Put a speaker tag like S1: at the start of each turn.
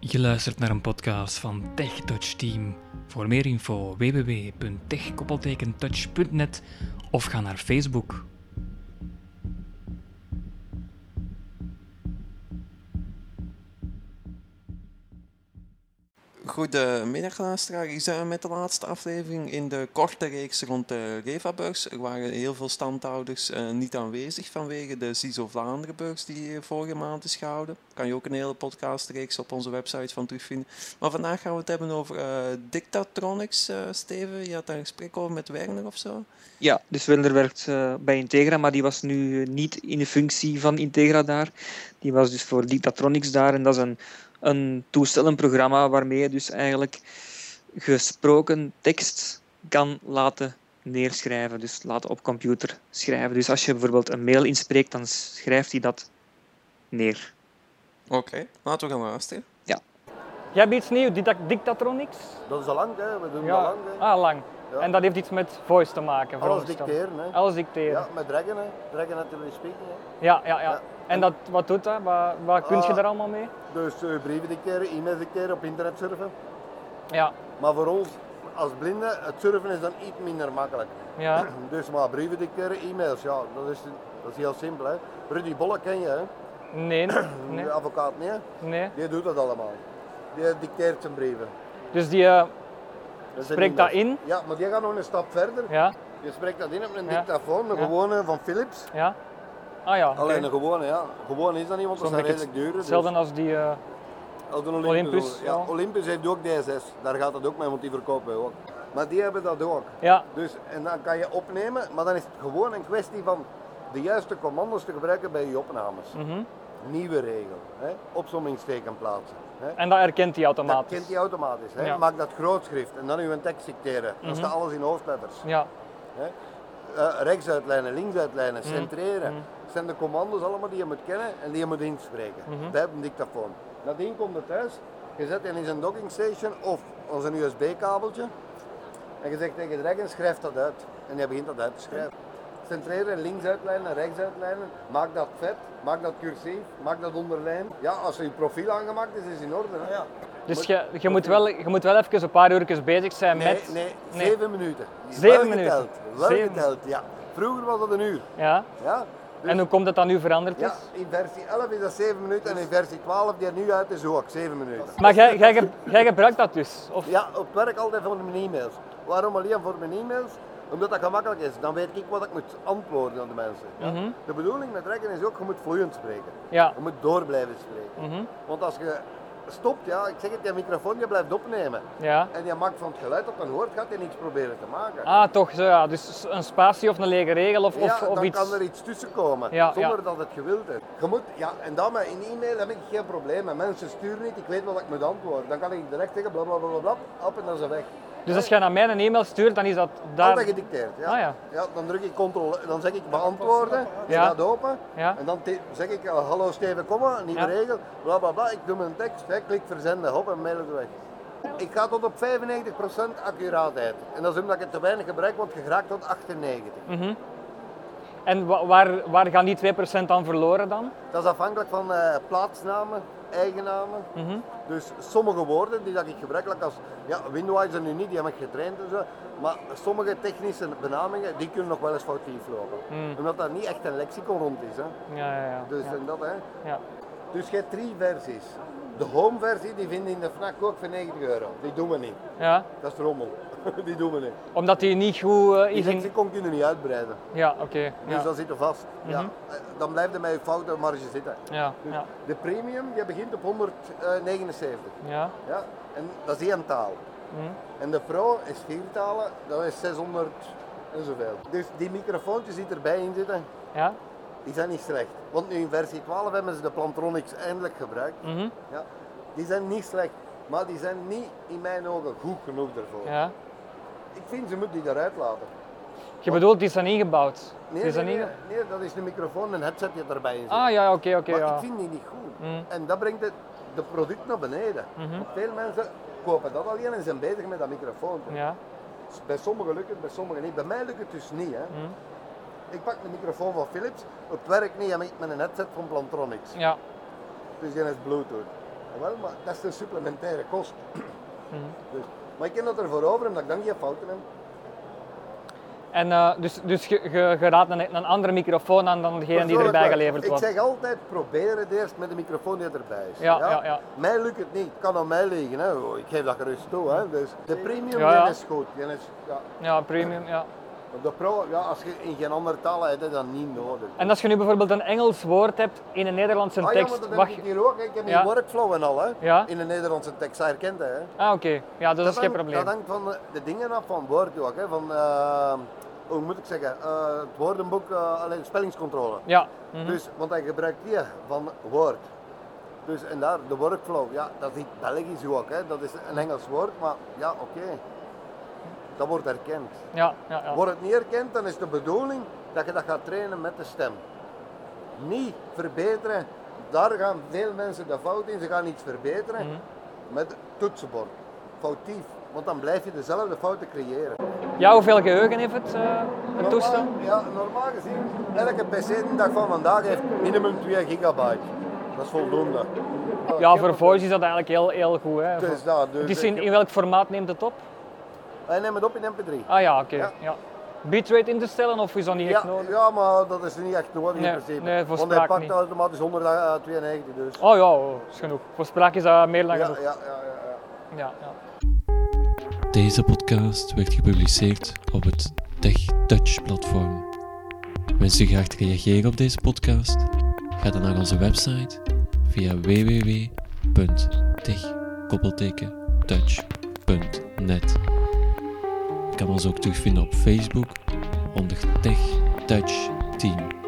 S1: Je luistert naar een podcast van Tech Touch Team. Voor meer info www.tech-touch.net of ga naar Facebook.
S2: Goedemiddag luisteraar, hier zijn we met de laatste aflevering in de korte reeks rond de Revabeurs. Er waren heel veel standhouders eh, niet aanwezig vanwege de CISO Vlaanderenbeurs die eh, vorige maand is gehouden. Kan je ook een hele podcastreeks op onze website van terugvinden. Maar vandaag gaan we het hebben over eh, Dictatronics, eh, Steven. Je had daar een gesprek over met Werner of zo.
S3: Ja, dus Wilder werkt eh, bij Integra, maar die was nu eh, niet in de functie van Integra daar. Die was dus voor Dictatronics daar. En dat is een, een toestel, een programma waarmee je dus eigenlijk gesproken tekst kan laten neerschrijven. Dus laten op computer schrijven. Dus als je bijvoorbeeld een mail inspreekt, dan schrijft hij dat neer.
S2: Oké, laten we gaan luisteren.
S4: Jij hebt iets nieuws, didac- Dictatronics?
S5: Dat is al lang, hè? we doen dat lang. Hè?
S4: Ah, lang.
S5: Ja.
S4: En dat heeft iets met voice te maken,
S5: Alles
S4: veronderstel ik.
S5: dicteren. Hè?
S4: Alles dicteren.
S5: Ja, met Dragon, hè? Dragon natuurlijk spreken. Hè?
S4: Ja, ja, ja.
S5: Ja.
S4: En dat, wat doet dat? Wat, wat kun je
S5: Ah.
S4: daar allemaal mee?
S5: Dus eh, brieven dicteren, e-mails dicteren, op internet surfen.
S4: Ja,
S5: Maar voor ons als blinden, het surfen is dan iets minder makkelijk.
S4: ja.
S5: Dus maar brieven dicteren, e-mails, ja, dat is, dat is heel simpel. Hè? Rudy Bolle ken je, hè?
S4: Nee, nee,
S5: de advocaat, nee? hè?
S4: nee.
S5: Die doet dat allemaal. Die dicteert zijn brieven.
S4: Dus die, eh,
S5: Dat zijn
S4: spreekt dat
S5: e-mails.
S4: in?
S5: Ja, maar die gaat nog een stap verder.
S4: Ja,
S5: Je spreekt dat in op een
S4: Ja.
S5: dictafoon, een
S4: Ja.
S5: gewone van Philips.
S4: ja. Ah ja, oké.
S5: Alleen een gewone, ja. Gewoon is dat niet, want dat
S4: Zo'n
S5: zijn
S4: beetje
S5: redelijk duur. dus-
S4: hetzelfde als die... eh,
S5: Als een
S4: Olympus,
S5: Olympus. Ja,
S4: ja.
S5: Olympus heeft ook DSS. Daar gaat het ook mee, want die verkopen ook. Maar die hebben dat ook.
S4: ja,
S5: Dus, en dan kan je opnemen, maar dan is het gewoon een kwestie van de juiste commando's te gebruiken bij je opnames.
S4: mhm.
S5: Nieuwe regel. Hè? Opsommingsteken plaatsen. Hè?
S4: En dat herkent hij
S5: Dat
S4: automatisch?
S5: kent hij automatisch. Hè?
S4: Ja. Mhm.
S5: Maak dat grootschrift en dan uw tekst dicteren. Dan staat alles in hoofdletters.
S4: Ja,
S5: Eh, rechtsuitlijnen, linksuitlijnen,
S4: Mhm.
S5: centreren.
S4: Mhm.
S5: Dat zijn de commando's allemaal die je moet kennen en die je moet inspreken.
S4: Mhm.
S5: Bij een dictafoon. Nadien komt het thuis, je zet in zijn docking station of als een USB-kabeltje. En je zegt tegen de rekken, schrijf dat uit. En hij begint dat uit te schrijven. Centreren, linksuitlijnen, rechtsuitlijnen. Maak dat vet, maak dat cursief, maak dat onderlijn. Ja, als je profiel aangemaakt is, is het in orde. Hè?
S4: dus
S5: Moet-
S4: je, je, moet wel, je moet wel even een paar uurtjes bezig zijn
S5: Nee,
S4: met...
S5: nee,
S4: nee.
S5: zeven minuten.
S4: Zeven
S5: Wel
S4: minuten.
S5: geteld, Wel
S4: Zeven.
S5: geteld, ja. Vroeger was dat een uur.
S4: Ja.
S5: Ja? Dus-
S4: En hoe komt dat dat nu veranderd
S5: Ja,
S4: is?
S5: in versie 11 is dat 7 minuten en in versie 12 die er nu uit is ook 7 minuten.
S4: Maar jij, jij, ge- jij gebruikt dat dus? Of,
S5: Ja, op werk altijd voor mijn e-mails. Waarom alleen voor mijn e-mails? Omdat dat gemakkelijk is. Dan weet ik wat ik moet antwoorden aan de mensen. Ja?
S4: Mhm.
S5: De bedoeling met rekken is ook, je moet vloeiend spreken.
S4: ja.
S5: Je moet door blijven spreken.
S4: Mhm.
S5: Want als je stopt, ja, ik zeg het, je microfoon je blijft opnemen.
S4: ja.
S5: En je maakt van het geluid dat dan hoort, gaat je niets proberen te maken.
S4: Ah, toch, zo, ja. dus een spatie of een lege regel of, of,
S5: ja,
S4: of
S5: dan
S4: iets.
S5: kan er iets tussen komen,
S4: Ja,
S5: zonder
S4: ja.
S5: dat het gewild is. Je moet, ja, en dan met in e-mail heb ik geen probleem. met Mensen sturen niet, ik weet wat ik moet antwoorden. Dan kan ik direct zeggen bla bla bla bla, bla op en dan is het weg.
S4: Dus als jij naar mij een e-mail stuurt, dan is dat daar.
S5: Altijd gedicteerd. Ja.
S4: Ah, ja.
S5: dan druk ik control, dan zeg ik beantwoorden, je
S4: Ja.
S5: gaat open.
S4: Ja.
S5: En dan ti- zeg ik eh, hallo Steven, komma, nieuwe
S4: Ja.
S5: regel, bla bla bla. Ik doe mijn tekst, hè, klik verzenden, hop en mail is weg. Ik ga tot op 95% accuraatheid. En dat is omdat ik het te weinig gebruik, want je geraakt tot 98.
S4: Mhm. En wa- waar, waar gaan die 2% dan verloren dan?
S5: Dat is afhankelijk van eh, plaatsnamen, eigennamen.
S4: Mhm.
S5: Dus sommige woorden die dat ik gebruikelijk als... Ja, Windwise en nu niet, die heb ik getraind en zo. Maar sommige technische benamingen, die kunnen nog wel eens foutief lopen.
S4: Mm.
S5: Omdat dat niet echt een lexicon rond is. Hè.
S4: Ja, ja, ja.
S5: Dus,
S4: ja.
S5: En dat, hè.
S4: ja.
S5: dus je hebt drie versies. De home versie, die vinden in de FNAC ook voor 90 euro. Die doen we niet.
S4: Ja.
S5: Dat is rommel. die doen we niet.
S4: Omdat die niet goed eh,
S5: Die
S4: is in-
S5: lexicon kunnen we niet uitbreiden.
S4: Ja, oké.
S5: Dus
S4: Ja. Mhm.
S5: dat zit er vast. ja. Eh, Dan blijft er met je fouten marge zitten.
S4: Ja.
S5: Dus
S4: Ja.
S5: De premium, je begint op 179.
S4: Ja.
S5: Ja, en dat is één taal.
S4: Mhm.
S5: En de pro is vier talen, dat is 600 en zoveel. Dus die microfoontjes die erbij in zitten,
S4: ja.
S5: die zijn niet slecht. Want nu in versie 12 hebben ze de Plantronics eindelijk gebruikt.
S4: Mhm.
S5: Ja, die zijn niet slecht, maar die zijn niet in mijn ogen goed genoeg daarvoor.
S4: ja.
S5: Ik vind ze moeten die eruit laten.
S4: Je bedoelt, die zijn ingebouwd? die
S5: Nee, nee,
S4: zijn
S5: nee,
S4: inge-
S5: nee, dat is de microfoon en headset die erbij in zit.
S4: Ah, ja, ja, oké, oké.
S5: maar
S4: ja.
S5: ik vind die niet goed.
S4: Mm.
S5: En dat brengt het de product naar beneden.
S4: Mhm.
S5: Want Veel mensen kopen dat alleen en zijn bezig met dat microfoon. Dus
S4: Ja.
S5: Bij sommigen lukt het, bij sommigen niet. Bij mij lukt het dus niet. Hè.
S4: Mhm.
S5: Ik pak de microfoon van Philips, op het werk niet, en ik met een headset van Plantronics.
S4: Ja.
S5: Dus die is Bluetooth. Wel, maar dat is een supplementaire kost.
S4: Mm.
S5: Dus, maar ik ken dat ervoor over omdat ik dan geen fouten heb.
S4: En eh, dus, dus je, je, je raadt een, een andere microfoon aan dan degene die
S5: Persoonlijk
S4: erbij
S5: wel.
S4: geleverd was.
S5: Ik zeg altijd, probeer het eerst met de microfoon die erbij is.
S4: Ja, ja, ja.
S5: Mij lukt het niet, het kan aan mij liggen. Hè. Oh, Ik geef dat gerust toe. Hè. Dus de premium
S4: Ja, ja.
S5: die is goed. Die is, ja.
S4: Ja, premium, ja.
S5: Maar De pro, ja, als je in geen andere taal hebt, is dat niet nodig.
S4: En als je nu bijvoorbeeld een Engels woord hebt in een Nederlandse
S5: ah, ja, maar
S4: tekst,
S5: dat heb
S4: mag
S5: ik
S4: je-
S5: hier ook. hè. Ik heb
S4: Ja.
S5: die workflow en al. Hè.
S4: Ja.
S5: In de Nederlandse tekst, hij herkent dat. Hè.
S4: Ah, oké. Ja, dus dat is geen
S5: hangt-
S4: probleem.
S5: Dat hangt van de, de dingen af van Word ook. Hè. Van, eh, hoe moet ik zeggen? eh, het woordenboek, eh, alleen spellingscontrole.
S4: Ja. mhm.
S5: Dus, want hij gebruikt die van Word. Dus en daar, de workflow, ja, dat is niet Belgisch ook, hè. dat is een Engels woord, maar ja, oké. Dat wordt erkend.
S4: Ja, ja, ja.
S5: Wordt het niet erkend, dan is de bedoeling dat je dat gaat trainen met de stem. Niet verbeteren, daar gaan veel mensen de fout in, ze gaan iets verbeteren met het toetsenbord. Foutief, want dan blijf je dezelfde fouten creëren.
S4: Ja, hoeveel geheugen heeft het, eh, het
S5: Normaal-
S4: toestel?
S5: Ja, normaal gezien, elke PC de dag van vandaag heeft minimum 2 gigabyte. Dat is voldoende. Oh,
S4: Ja, voor voice is dat eigenlijk heel, heel goed. Hè.
S5: Dus dat, dus
S4: Het is in,
S5: ik-
S4: in welk formaat neemt het op?
S5: Hij neemt het op in MP3.
S4: Ah ja, oké.
S5: Ja.
S4: Ja. Bitrate in te stellen of is dat niet echt
S5: Ja,
S4: nodig?
S5: ja, maar dat is niet echt nodig
S4: Nee,
S5: in principe.
S4: nee, voor
S5: Want hij
S4: spraak
S5: pakt
S4: niet.
S5: automatisch 192, dus.
S4: Oh ja, oh, is genoeg. Voor spraak is dat meer dan
S5: ja, ja,
S4: genoeg.
S5: ja, ja, ja.
S4: Ja, ja.
S6: Deze podcast werd gepubliceerd op het TechTouch-platform. Wens u graag te reageren op deze podcast? Ga dan naar onze website via www.tech-touch.net. Je kan ons ook terugvinden op Facebook onder Tech Touch Team.